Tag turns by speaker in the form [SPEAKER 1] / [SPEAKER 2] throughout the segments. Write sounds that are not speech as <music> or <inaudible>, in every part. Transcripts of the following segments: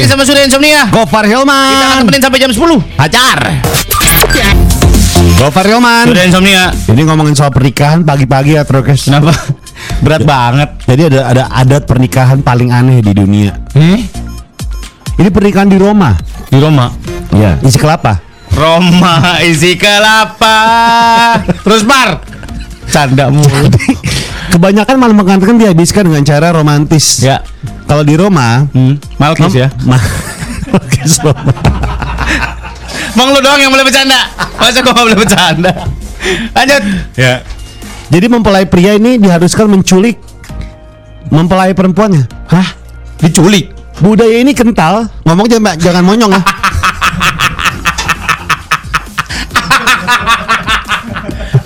[SPEAKER 1] Insomnia.
[SPEAKER 2] Gofar
[SPEAKER 1] Kita akan
[SPEAKER 2] Hilman.
[SPEAKER 1] temenin sampai jam 10.
[SPEAKER 2] Hajar. Gofar Hilman.
[SPEAKER 1] Sudah Insomnia.
[SPEAKER 2] Ini ngomongin soal pernikahan pagi-pagi ya Trokes.
[SPEAKER 1] Kenapa? Berat banget.
[SPEAKER 2] Jadi ada ada adat pernikahan paling aneh di dunia.
[SPEAKER 1] Eh?
[SPEAKER 2] Ini pernikahan di Roma.
[SPEAKER 1] Di Roma.
[SPEAKER 2] Iya. Isi kelapa.
[SPEAKER 1] Roma isi kelapa. Terus bar. Canda mulu.
[SPEAKER 2] Kebanyakan malam pengantin dihabiskan dengan cara romantis.
[SPEAKER 1] ya.
[SPEAKER 2] Kalau di Roma,
[SPEAKER 1] Hmm. Malkis
[SPEAKER 2] <laughs>
[SPEAKER 1] ya.
[SPEAKER 2] ma- Trokes Roma.
[SPEAKER 1] Bang lu doang yang boleh bercanda. Masa gua gak boleh bercanda? Lanjut.
[SPEAKER 3] Ya.
[SPEAKER 2] Jadi mempelai pria ini diharuskan menculik mempelai perempuannya. Hah?
[SPEAKER 1] Diculik.
[SPEAKER 2] Budaya ini kental. Ngomong aja mbak, jangan monyong ah.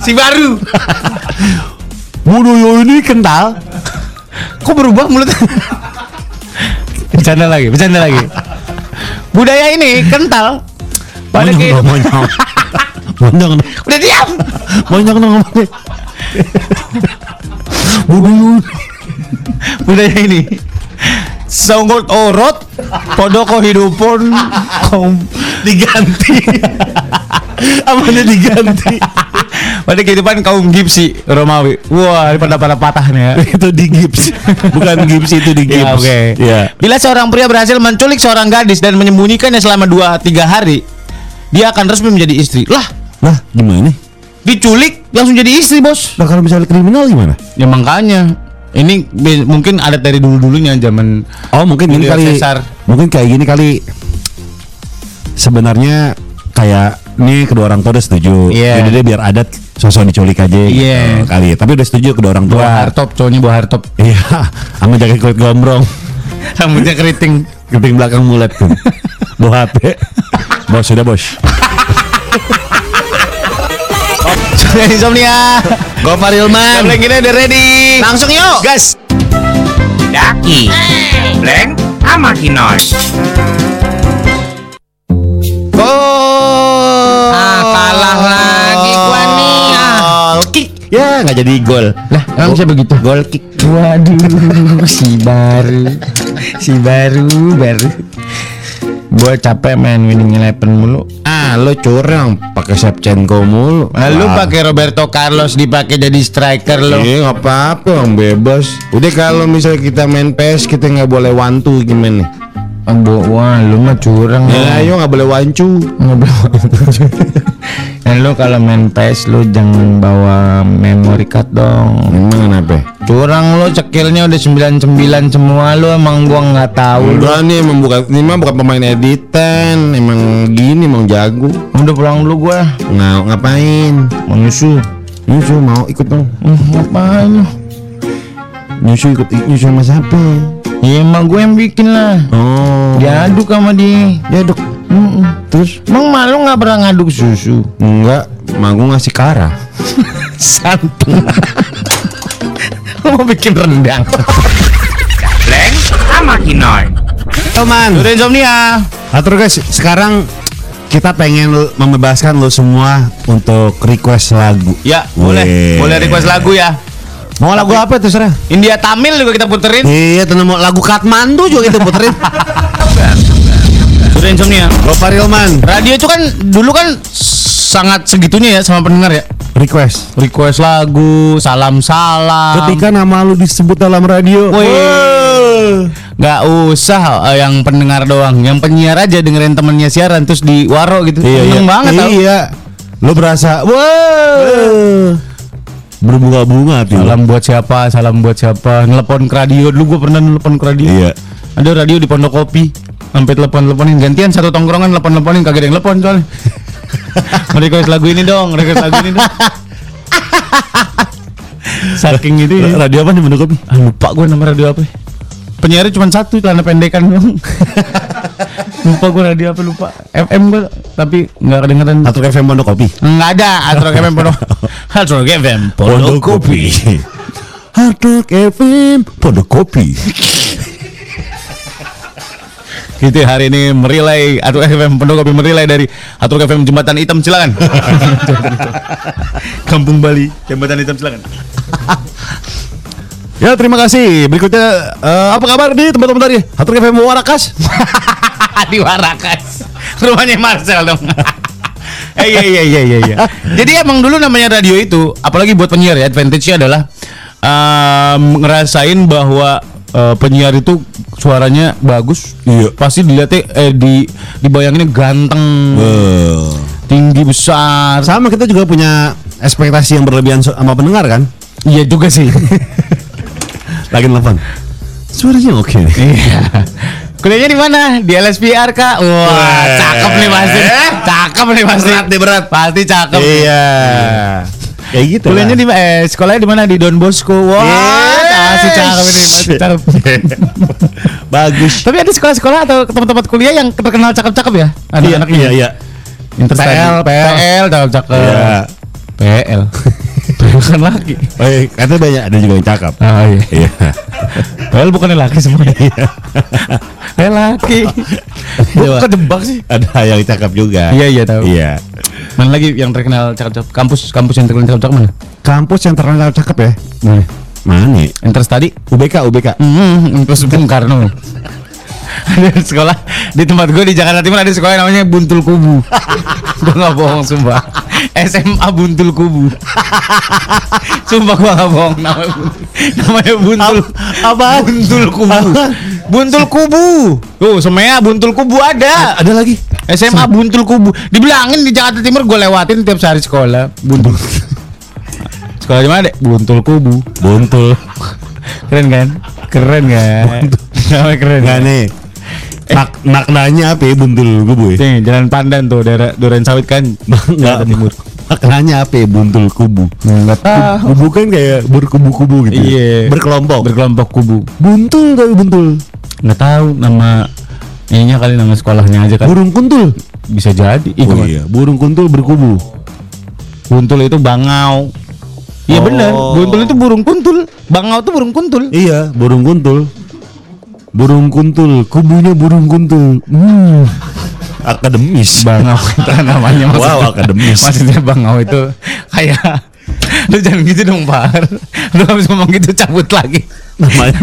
[SPEAKER 1] Si baru.
[SPEAKER 2] Budaya ini kental.
[SPEAKER 1] Kok berubah mulutnya? bercanda lagi, bercanda lagi. Budaya ini kental. Pada
[SPEAKER 2] Monyong
[SPEAKER 1] ke-
[SPEAKER 2] dong, monyong. monyong dong.
[SPEAKER 1] Udah diam.
[SPEAKER 2] Monyong dong ngomongnya. Budaya ini.
[SPEAKER 1] Budaya ini. Songgol orot, oh, podoko hidupun, kom <laughs> diganti.
[SPEAKER 2] Apanya diganti?
[SPEAKER 1] Pada kehidupan kaum gipsi Romawi. Wah, pada pada patah nih ya.
[SPEAKER 2] itu di gips. Bukan gips itu
[SPEAKER 1] <laughs>
[SPEAKER 2] di gips.
[SPEAKER 1] Ya, oke.
[SPEAKER 2] Iya.
[SPEAKER 1] Bila seorang pria berhasil menculik seorang gadis dan menyembunyikannya selama 2-3 hari, dia akan resmi menjadi istri. Lah,
[SPEAKER 2] Nah, gimana?
[SPEAKER 1] diculik langsung jadi istri, Bos.
[SPEAKER 2] Nah, kalau misalnya kriminal gimana?
[SPEAKER 1] Ya makanya. Ini be- mungkin adat dari dulu-dulunya zaman
[SPEAKER 2] Oh, mungkin ini
[SPEAKER 1] Julio
[SPEAKER 2] kali
[SPEAKER 1] Caesar.
[SPEAKER 2] mungkin kayak gini kali sebenarnya kayak nih kedua orang tua udah setuju.
[SPEAKER 1] Iya.
[SPEAKER 2] Jadi dia biar adat sosok diculik aja gitu
[SPEAKER 1] Iya.
[SPEAKER 2] kali. Tapi udah setuju kedua orang tua.
[SPEAKER 1] buah hartop, cowoknya buah hartop.
[SPEAKER 2] Iya, sama jaket kulit gombrong,
[SPEAKER 1] Rambutnya keriting.
[SPEAKER 2] keping belakang mulet tuh. Bawa HP. Bos sudah bos.
[SPEAKER 1] Sudah insomnia. Gopar Ilman. Gambling ini udah ready. Langsung yuk.
[SPEAKER 2] Gas.
[SPEAKER 3] Daki. Bleng sama Kinos.
[SPEAKER 2] Oh.
[SPEAKER 1] Ah, kalah lagi gua nih, ah.
[SPEAKER 2] Goal kick. Ya, nggak jadi gol.
[SPEAKER 1] Lah, emang bisa begitu?
[SPEAKER 2] Goal kick.
[SPEAKER 1] Waduh, si baru, si baru, baru. Gue capek main winning eleven mulu.
[SPEAKER 2] Ah, lo curang pakai Shevchenko mulu.
[SPEAKER 1] Ah, Lu
[SPEAKER 2] Wah.
[SPEAKER 1] pakai Roberto Carlos dipakai jadi striker lo.
[SPEAKER 2] Iya nggak apa-apa yang bebas. Udah kalau misalnya kita main PS kita nggak boleh wantu gimana?
[SPEAKER 1] Ambo, wah lu mah curang.
[SPEAKER 2] Ya ayo nggak boleh wancu.
[SPEAKER 1] Hmm. Dan Eh, lu kalau main PS lu jangan bawa memory card dong.
[SPEAKER 2] Emang kenapa?
[SPEAKER 1] Curang lu cekilnya udah 99 semua lu emang gua nggak tahu. lu.
[SPEAKER 2] Udah nih emang bukan ini mah bukan pemain editan, emang gini emang jago.
[SPEAKER 1] Udah pulang dulu gua.
[SPEAKER 2] Nah, ngapain?
[SPEAKER 1] Mau nyusu.
[SPEAKER 2] Nyusu mau ikut dong.
[SPEAKER 1] Hmm, ngapain lu?
[SPEAKER 2] Nyusu ikut nyusu sama siapa?
[SPEAKER 1] Ya emang gue yang bikin lah.
[SPEAKER 2] Oh.
[SPEAKER 1] Diaduk sama dia.
[SPEAKER 2] Ya, Dok.
[SPEAKER 1] Mm-mm.
[SPEAKER 2] Terus
[SPEAKER 1] Ya. Hmm. Emang malu nggak pernah ngaduk susu?
[SPEAKER 2] enggak, manggung ngasih kara.
[SPEAKER 1] Santan. <laughs> Mau bikin rendang.
[SPEAKER 3] Bleng sama Kinos.
[SPEAKER 2] Teman,
[SPEAKER 1] Udah insomnia.
[SPEAKER 2] atur Nah, guys, sekarang kita pengen lu- membebaskan lo semua untuk request lagu.
[SPEAKER 1] Ya, boleh.
[SPEAKER 2] Weh.
[SPEAKER 1] Boleh request lagu ya.
[SPEAKER 2] Mau lagu apa terserah.
[SPEAKER 1] India Tamil juga kita puterin.
[SPEAKER 2] Iya, tenang mau lagu Katmandu juga kita <laughs> puterin.
[SPEAKER 1] Udah insomnia.
[SPEAKER 2] Bapak Rilman,
[SPEAKER 1] Radio itu kan dulu kan sangat segitunya ya sama pendengar ya.
[SPEAKER 2] request.
[SPEAKER 1] Request lagu, salam-salam.
[SPEAKER 2] Ketika nama lu disebut dalam radio.
[SPEAKER 1] Wih. Nggak usah eh, yang pendengar doang, yang penyiar aja dengerin temennya siaran terus di waro gitu.
[SPEAKER 2] Iya, iya.
[SPEAKER 1] Seneng banget tau.
[SPEAKER 2] Iya. Lu berasa wow. Berbunga-bunga hati lu.
[SPEAKER 1] Salam buat siapa? Salam buat siapa? Nelpon ke radio dulu gue pernah nelpon ke radio.
[SPEAKER 2] Iya.
[SPEAKER 1] Ada radio di Pondok Kopi. Sampai telepon-teleponin gantian satu tongkrongan telepon-teleponin kagak ada yang telepon <laughs> soalnya. request lagu ini dong, request lagu ini dong. Saking itu ya.
[SPEAKER 2] Radio apa nih menurut
[SPEAKER 1] Ah, lupa gue nama radio apa. ya. Penyiarnya cuma satu celana pendekan <laughs> dong. lupa gue radio apa lupa. FM gue tapi nggak kedengeran.
[SPEAKER 2] Atau FM Pondok Kopi.
[SPEAKER 1] Nggak ada Astro FM Pondok. <laughs> Astro FM Pondok Kopi.
[SPEAKER 2] Hardrock FM Pondok Kopi.
[SPEAKER 1] Gitu ya, hari ini merilai Atur FM Pondok Kopi merilai dari Atur FM Jembatan Hitam <laughs> silakan. <laughs> Kampung Bali Jembatan Hitam silakan.
[SPEAKER 2] Ya terima kasih. Berikutnya eh, apa kabar di teman-teman tadi? Hatur FM Warakas.
[SPEAKER 4] di Warakas rumahnya Marcel dong
[SPEAKER 1] <laughs> Eh, iya iya iya iya iya. Jadi emang dulu namanya radio itu, apalagi buat penyiar ya, advantage-nya adalah em, ngerasain bahwa eh, penyiar itu suaranya bagus.
[SPEAKER 2] Iya.
[SPEAKER 1] Pasti dilihatnya eh di dibayanginnya ganteng, Iya.
[SPEAKER 2] Eh.
[SPEAKER 1] tinggi besar.
[SPEAKER 2] Sama kita juga punya ekspektasi yang berlebihan so- sama pendengar kan?
[SPEAKER 1] Iya juga sih.
[SPEAKER 2] Lagi telepon. Suaranya oke. nih.
[SPEAKER 1] Iya. Kuliahnya di mana? Di LSPR kak. Wah,
[SPEAKER 2] Weh. Eh?
[SPEAKER 1] cakep nih pasti. Cakep nih pasti.
[SPEAKER 2] Berat nih, berat.
[SPEAKER 1] Pasti cakep.
[SPEAKER 2] Iya. Kayak gitu.
[SPEAKER 1] Kuliahnya
[SPEAKER 2] lah. Iya.
[SPEAKER 1] di eh sekolahnya di mana? Di Don Bosco. Wah,
[SPEAKER 2] Yes.
[SPEAKER 1] masih cakep ini, masih cakep.
[SPEAKER 2] bagus.
[SPEAKER 1] Tapi ada sekolah-sekolah atau tempat-tempat kuliah yang terkenal cakep-cakep ya? Ada
[SPEAKER 2] Iya, iya, iya.
[SPEAKER 1] PL, PL, PL cakep.
[SPEAKER 2] Iya. <laughs>
[SPEAKER 1] PL. bukan laki.
[SPEAKER 2] Oh, iya, katanya banyak ada juga yang cakep.
[SPEAKER 1] Ah iya.
[SPEAKER 2] Iya. <laughs>
[SPEAKER 1] PL bukannya laki semuanya. PL laki.
[SPEAKER 2] Coba.
[SPEAKER 1] Kok kejebak sih?
[SPEAKER 2] ada yang cakep juga.
[SPEAKER 1] Iya, iya, tahu.
[SPEAKER 2] Iya.
[SPEAKER 1] Mana lagi yang terkenal cakep-cakep? Kampus kampus yang terkenal cakep-cakep mana?
[SPEAKER 2] Kampus yang terkenal cakep ya?
[SPEAKER 1] Mana?
[SPEAKER 2] Mana?
[SPEAKER 1] Enter tadi?
[SPEAKER 2] UBK, UBK.
[SPEAKER 1] Hmm, Universitas Bung Karno. <laughs> ada sekolah di tempat gue di Jakarta Timur ada sekolah yang namanya Buntul <laughs> Kubu. gue nggak bohong sumpah. SMA Buntul Kubu. <laughs> sumpah gue nggak bohong namanya Buntul. Namanya Buntul.
[SPEAKER 2] apa?
[SPEAKER 1] Buntul Kubu. Buntul Kubu. Tuh, semea Buntul Kubu ada.
[SPEAKER 2] Ada lagi.
[SPEAKER 1] SMA Buntul Kubu. Dibilangin di Jakarta Timur gue lewatin tiap sehari sekolah. Buntul. sekolah di mana, Dek? Buntul Kubu.
[SPEAKER 2] Buntul.
[SPEAKER 1] Keren kan? Keren kan? Namanya <laughs> keren.
[SPEAKER 2] Enggak nih. Mak maknanya apa ya buntul kubu ya?
[SPEAKER 1] Nih, Jalan Pandan tuh daerah Duren Sawit kan.
[SPEAKER 2] Enggak timur. Maknanya apa ya buntul kubu?
[SPEAKER 1] Enggak tahu.
[SPEAKER 2] Kubu kan kayak berkubu-kubu gitu. ya.
[SPEAKER 1] Iya.
[SPEAKER 2] Berkelompok.
[SPEAKER 1] Berkelompok kubu.
[SPEAKER 2] buntul tapi buntul.
[SPEAKER 1] Enggak tahu nama ininya kali nama sekolahnya aja kan.
[SPEAKER 2] Burung kuntul.
[SPEAKER 1] Bisa jadi. Ih,
[SPEAKER 2] Oh
[SPEAKER 1] gua-
[SPEAKER 2] iya, burung kuntul berkubu.
[SPEAKER 1] Buntul itu bangau. Iya
[SPEAKER 2] Oh.
[SPEAKER 1] bener, buntul itu burung kuntul, bangau itu burung kuntul.
[SPEAKER 2] Iya, burung kuntul. Burung kuntul, kubunya burung kuntul. Hmm. Akademis.
[SPEAKER 1] Bangau itu namanya maksudnya.
[SPEAKER 2] Wow, akademis.
[SPEAKER 1] Maksudnya bangau itu kayak lu jangan gitu dong Pak. Lu habis ngomong gitu cabut lagi.
[SPEAKER 2] namanya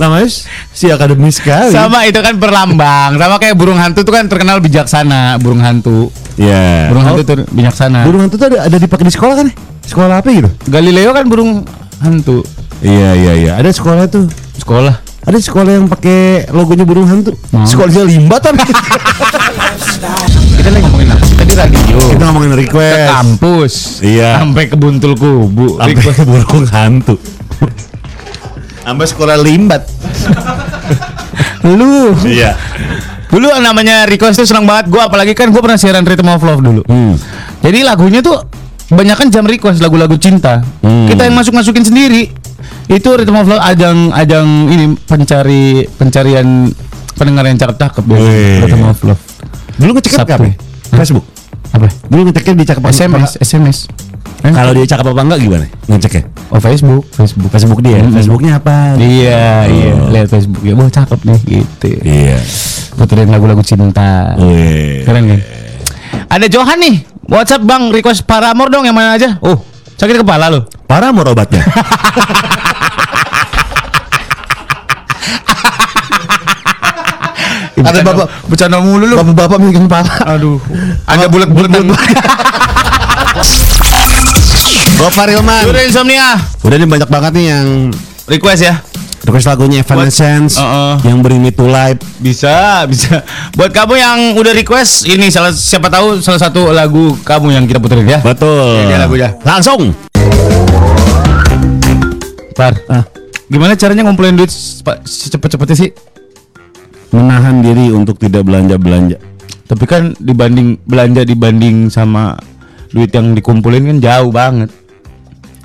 [SPEAKER 2] namanya si akademis sekali.
[SPEAKER 1] Sama itu kan berlambang, sama kayak burung hantu itu kan terkenal bijaksana, burung hantu.
[SPEAKER 2] Iya.
[SPEAKER 1] Burung
[SPEAKER 2] Oh,
[SPEAKER 1] hantu tuh bijaksana.
[SPEAKER 2] burung hantu tuh ada ada dipakai di sekolah kan? ya? Sekolah apa gitu?
[SPEAKER 1] Galileo kan burung hantu.
[SPEAKER 2] Iya, iya, iya. Ada sekolah tuh.
[SPEAKER 1] Sekolah.
[SPEAKER 2] Ada sekolah yang pakai logonya burung hantu.
[SPEAKER 1] Hmm.
[SPEAKER 2] Sekolahnya <laughs> limbatan.
[SPEAKER 1] Kita lagi ngomongin apa? Tadi radio.
[SPEAKER 2] Kita ngomongin
[SPEAKER 1] Ke
[SPEAKER 2] request.
[SPEAKER 1] kampus.
[SPEAKER 2] Iya.
[SPEAKER 1] Sampai ke buntul kubu.
[SPEAKER 2] Sampai burung hantu. Sampai sekolah limbat.
[SPEAKER 1] Lu.
[SPEAKER 2] Iya.
[SPEAKER 1] Dulu namanya request tuh seneng banget gua apalagi kan gua pernah siaran Rhythm of Love dulu.
[SPEAKER 2] Hmm.
[SPEAKER 1] Jadi lagunya tuh kebanyakan jam request lagu-lagu cinta.
[SPEAKER 2] Hmm.
[SPEAKER 1] Kita yang masuk-masukin sendiri. Itu Rhythm of Love ajang ajang ini pencari pencarian pendengar yang cakep-cakep dulu.
[SPEAKER 2] Wih.
[SPEAKER 1] Rhythm of Love.
[SPEAKER 2] Dulu ngeceknya
[SPEAKER 1] Sabtu.
[SPEAKER 2] apa? ya? Facebook.
[SPEAKER 1] Apa?
[SPEAKER 2] Dulu ngeceknya di cakep apa?
[SPEAKER 1] SMS, SMS. Eh?
[SPEAKER 2] Kalau dia cakep apa enggak gimana? Ngeceknya.
[SPEAKER 1] Oh Facebook, Facebook.
[SPEAKER 2] Facebook dia.
[SPEAKER 1] Mm-mm.
[SPEAKER 2] ya? Facebooknya apa?
[SPEAKER 1] Iya,
[SPEAKER 2] Oh.
[SPEAKER 1] iya. Lihat Facebook ya, wah cakep nih gitu.
[SPEAKER 2] Iya.
[SPEAKER 1] Puterin lagu-lagu cinta.
[SPEAKER 2] Wih.
[SPEAKER 1] Keren kan? Ada Johan nih. WhatsApp Bang request Paramore dong yang mana aja? Oh, sakit kepala lo.
[SPEAKER 2] Parah mau <laughs> obatnya. Ada bapak
[SPEAKER 1] bercanda mulu lu.
[SPEAKER 2] bapak-bapak megang pala.
[SPEAKER 1] Aduh. Ada bulat-bulatan.
[SPEAKER 2] Gopar Ilman.
[SPEAKER 1] Udah insomnia.
[SPEAKER 2] Udah nih banyak banget nih yang
[SPEAKER 1] Request ya.
[SPEAKER 2] request lagunya Evanescence
[SPEAKER 1] Uh-uh.
[SPEAKER 2] yang Bring Me to Life.
[SPEAKER 1] Bisa, bisa. Buat kamu yang udah request ini salah siapa tahu salah satu lagu kamu yang kita puterin ya.
[SPEAKER 2] Betul.
[SPEAKER 1] Ini lagunya.
[SPEAKER 2] Iya, Langsung.
[SPEAKER 1] Par. Gimana caranya ngumpulin duit sepa- secepat-cepatnya sih?
[SPEAKER 2] Menahan diri untuk tidak belanja-belanja.
[SPEAKER 1] Tapi kan dibanding belanja dibanding sama duit yang dikumpulin kan jauh banget.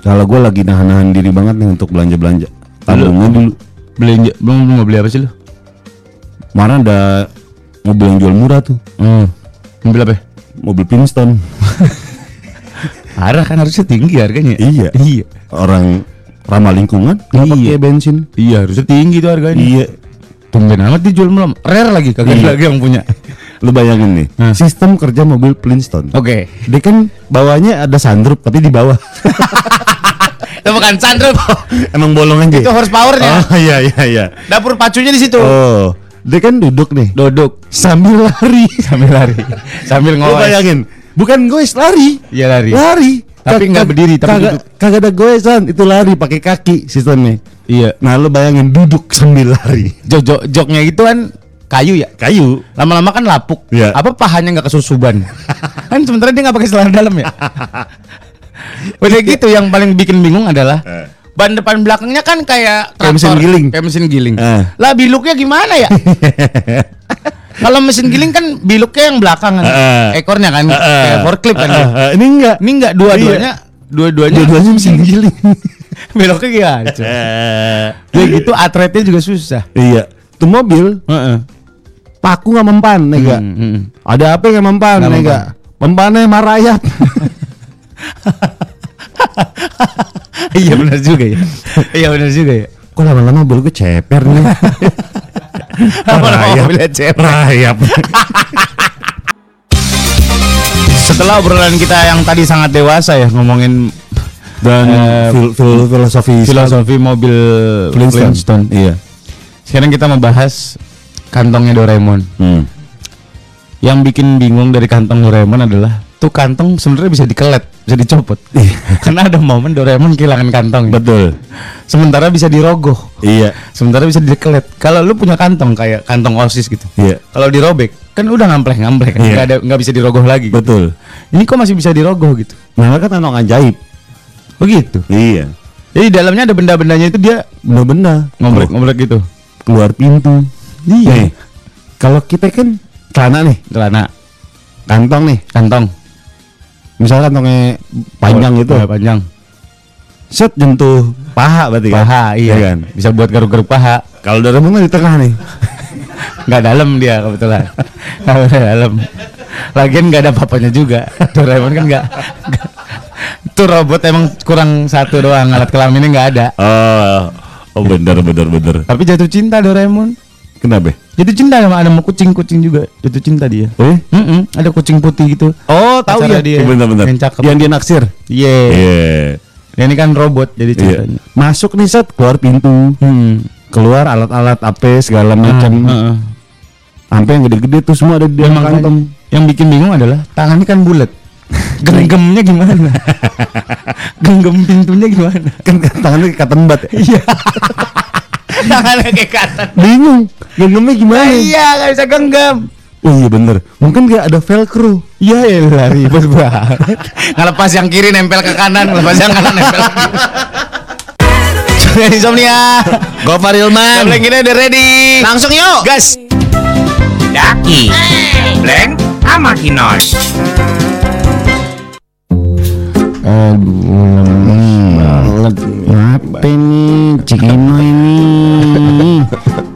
[SPEAKER 2] Kalau gue lagi nahan-nahan diri banget nih untuk belanja-belanja. Tabungnya dulu.
[SPEAKER 1] Belanja belum belum mau beli apa sih lu?
[SPEAKER 2] Mana ada mobil yang jual murah tuh.
[SPEAKER 1] Hmm. Mau beli apa? ya?
[SPEAKER 2] Mobil Pinston.
[SPEAKER 1] Arah kan harusnya tinggi harganya.
[SPEAKER 2] Iya.
[SPEAKER 1] Iya.
[SPEAKER 2] <laughs> Orang ramah lingkungan. Gak
[SPEAKER 1] Iya.
[SPEAKER 2] pakai bensin.
[SPEAKER 1] Iya, harusnya tinggi tuh harganya.
[SPEAKER 2] Iya.
[SPEAKER 1] Tumben amat dijual malam. Rare lagi kagak ada
[SPEAKER 2] Iya.
[SPEAKER 1] lagi yang punya.
[SPEAKER 2] Lu bayangin nih.
[SPEAKER 1] Hmm.
[SPEAKER 2] Sistem kerja mobil Pinston.
[SPEAKER 1] Oke.
[SPEAKER 2] Dia kan bawahnya ada sandrup tapi di bawah.
[SPEAKER 4] Itu bukan sandrup.
[SPEAKER 2] Emang bolongan
[SPEAKER 1] Itu
[SPEAKER 2] aja.
[SPEAKER 1] horsepowernya.
[SPEAKER 2] Oh iya iya iya.
[SPEAKER 1] Dapur pacunya di situ.
[SPEAKER 2] Oh, dia kan duduk nih
[SPEAKER 1] Duduk
[SPEAKER 2] sambil lari.
[SPEAKER 1] <laughs> sambil lari, sambil
[SPEAKER 2] Lo
[SPEAKER 1] ngowes.
[SPEAKER 2] bayangin, bukan goes lari.
[SPEAKER 1] Iya lari.
[SPEAKER 2] Lari.
[SPEAKER 1] Tapi
[SPEAKER 2] Kag-
[SPEAKER 1] nggak
[SPEAKER 2] kag-
[SPEAKER 1] berdiri, tapi
[SPEAKER 2] kagak
[SPEAKER 1] duduk.
[SPEAKER 2] kagak ada goesan, itu lari pakai kaki sistemnya.
[SPEAKER 1] Iya.
[SPEAKER 2] Nah, lo bayangin duduk sambil lari.
[SPEAKER 1] Jok jok joknya itu kan kayu ya.
[SPEAKER 2] Kayu.
[SPEAKER 1] Lama-lama kan lapuk.
[SPEAKER 2] Iya.
[SPEAKER 1] Apa pahanya nggak
[SPEAKER 2] <laughs>
[SPEAKER 1] kesusuban? kan sementara dia nggak pakai celana dalam ya. Udah gitu yang paling bikin bingung adalah
[SPEAKER 2] Eh.
[SPEAKER 1] ban depan belakangnya kan kayak
[SPEAKER 2] Kayak mesin
[SPEAKER 1] traktor,
[SPEAKER 2] giling.
[SPEAKER 1] Kayak mesin giling.
[SPEAKER 2] Eh.
[SPEAKER 1] Lah biluknya gimana
[SPEAKER 2] <laughs>
[SPEAKER 1] ya? Kalau mesin giling kan biluknya yang belakang kan.
[SPEAKER 2] Eh.
[SPEAKER 1] Ekornya kan
[SPEAKER 2] Heeh.
[SPEAKER 1] kayak forklift kan.
[SPEAKER 2] Heeh, heeh. Ini enggak.
[SPEAKER 1] Ini enggak dua-duanya dua-duanya
[SPEAKER 2] Iya. Dua-duanya Eh. mesin giling.
[SPEAKER 1] <laughs> beloknya gitu. Udah gitu atletnya juga susah.
[SPEAKER 2] Iya. Itu mobil
[SPEAKER 1] Heeh.
[SPEAKER 2] paku nggak mempan, ya enggak?
[SPEAKER 1] Hmm, hmm.
[SPEAKER 2] Ada apa yang nggak mempan, ya
[SPEAKER 1] Nggak
[SPEAKER 2] enggak? Mempannya marayap.
[SPEAKER 1] iya benar juga
[SPEAKER 2] <laughs>
[SPEAKER 1] ya. iya benar juga ya.
[SPEAKER 2] Kok lama-lama mobil gue ceper <laughs> nih.
[SPEAKER 1] <laughs> Lama-lama
[SPEAKER 2] Rayap.
[SPEAKER 1] mobilnya ceper.
[SPEAKER 2] Rayap.
[SPEAKER 1] Setelah obrolan kita yang tadi sangat dewasa ya ngomongin
[SPEAKER 2] Dan
[SPEAKER 1] Eh,
[SPEAKER 2] fil- fil- filosofi
[SPEAKER 1] filosofi mobil Flintstone.
[SPEAKER 2] Iya.
[SPEAKER 1] Sekarang kita membahas kantongnya Doraemon.
[SPEAKER 2] Hmm.
[SPEAKER 1] Yang bikin bingung dari kantong Doraemon adalah tuh kantong sebenarnya bisa dikelet, bisa dicopot.
[SPEAKER 2] Iya.
[SPEAKER 1] <laughs> Karena ada momen Doraemon kehilangan kantong. ya.
[SPEAKER 2] Betul.
[SPEAKER 1] Sementara bisa dirogoh.
[SPEAKER 2] Iya.
[SPEAKER 1] Sementara bisa dikelet. Kalau lu punya kantong kayak kantong OSIS gitu.
[SPEAKER 2] Iya.
[SPEAKER 1] Kalau dirobek kan udah ngampleh-ngampleh kan.
[SPEAKER 2] Iya.
[SPEAKER 1] Nggak ada nggak bisa dirogoh lagi.
[SPEAKER 2] Betul.
[SPEAKER 1] Ini kok masih bisa dirogoh gitu.
[SPEAKER 2] Nah, kan anak ajaib.
[SPEAKER 1] Begitu.
[SPEAKER 2] Iya.
[SPEAKER 1] Jadi dalamnya ada benda-bendanya itu dia
[SPEAKER 2] Benar-benar.
[SPEAKER 1] ngombrek-ngombrek gitu.
[SPEAKER 2] keluar pintu. Iya. kalau kita kan celana nih,
[SPEAKER 1] Celana,
[SPEAKER 2] kantong nih,
[SPEAKER 1] kantong
[SPEAKER 2] misalnya kantongnya panjang gitu,
[SPEAKER 1] Ya, panjang.
[SPEAKER 2] set jentuh paha berarti kan?
[SPEAKER 1] Paha, iya.
[SPEAKER 2] kan?
[SPEAKER 1] Bisa buat garuk-garuk paha.
[SPEAKER 2] Kalau dari mana di tengah nih?
[SPEAKER 1] Nggak dalam dia
[SPEAKER 2] <laughs>
[SPEAKER 1] kebetulan. Nggak dalam. Lagian nggak ada papanya juga. Doraemon kan nggak. nggak- Itu robot emang kurang satu doang alat kelaminnya nggak ada.
[SPEAKER 2] Oh, oh bener bener bener.
[SPEAKER 1] Tapi jatuh cinta Doraemon.
[SPEAKER 2] Kenapa?
[SPEAKER 1] Jatuh cinta sama ada kucing-kucing juga. Jatuh cinta dia.
[SPEAKER 2] Eh?
[SPEAKER 1] Mm-mm, ada kucing putih gitu.
[SPEAKER 2] Oh,
[SPEAKER 1] tahu ya.
[SPEAKER 2] Dia. Bener bener.
[SPEAKER 1] Yang cakep.
[SPEAKER 2] dia naksir.
[SPEAKER 1] Iya.
[SPEAKER 2] Iya.
[SPEAKER 1] Ya, Ini kan robot jadi
[SPEAKER 2] Iya.
[SPEAKER 1] ceritanya.
[SPEAKER 2] Masuk nih set keluar pintu,
[SPEAKER 1] Hmm.
[SPEAKER 2] keluar alat-alat apa segala macam.
[SPEAKER 1] Nah, Heeh.
[SPEAKER 2] Sampai yang gede-gede tuh semua ada di dalam
[SPEAKER 1] Emang
[SPEAKER 2] kantong.
[SPEAKER 1] kan- yang bikin bingung adalah tangannya kan <laughs> bulat. Genggemnya <laughs> gimana? Genggam pintunya gimana?
[SPEAKER 2] Kan tangannya kayak tembat ya.
[SPEAKER 1] Iya. <laughs> tangannya kayak kata.
[SPEAKER 2] Bingung, genggamnya gimana?
[SPEAKER 1] Iya, nggak bisa genggam.
[SPEAKER 2] Oh iya bener, mungkin gak ada velcro
[SPEAKER 1] Iya ya lari ribet <laughs> banget. Ngelepas yang kiri nempel ke kanan, ngelepas yang kanan nempel. ke kiri. Surya Insomnia.
[SPEAKER 2] Gopar Ilman
[SPEAKER 1] Gambling ini udah ready. Langsung yuk. Gas.
[SPEAKER 3] Daki Blank sama Kinoy
[SPEAKER 2] Kenapa ini Cikino ini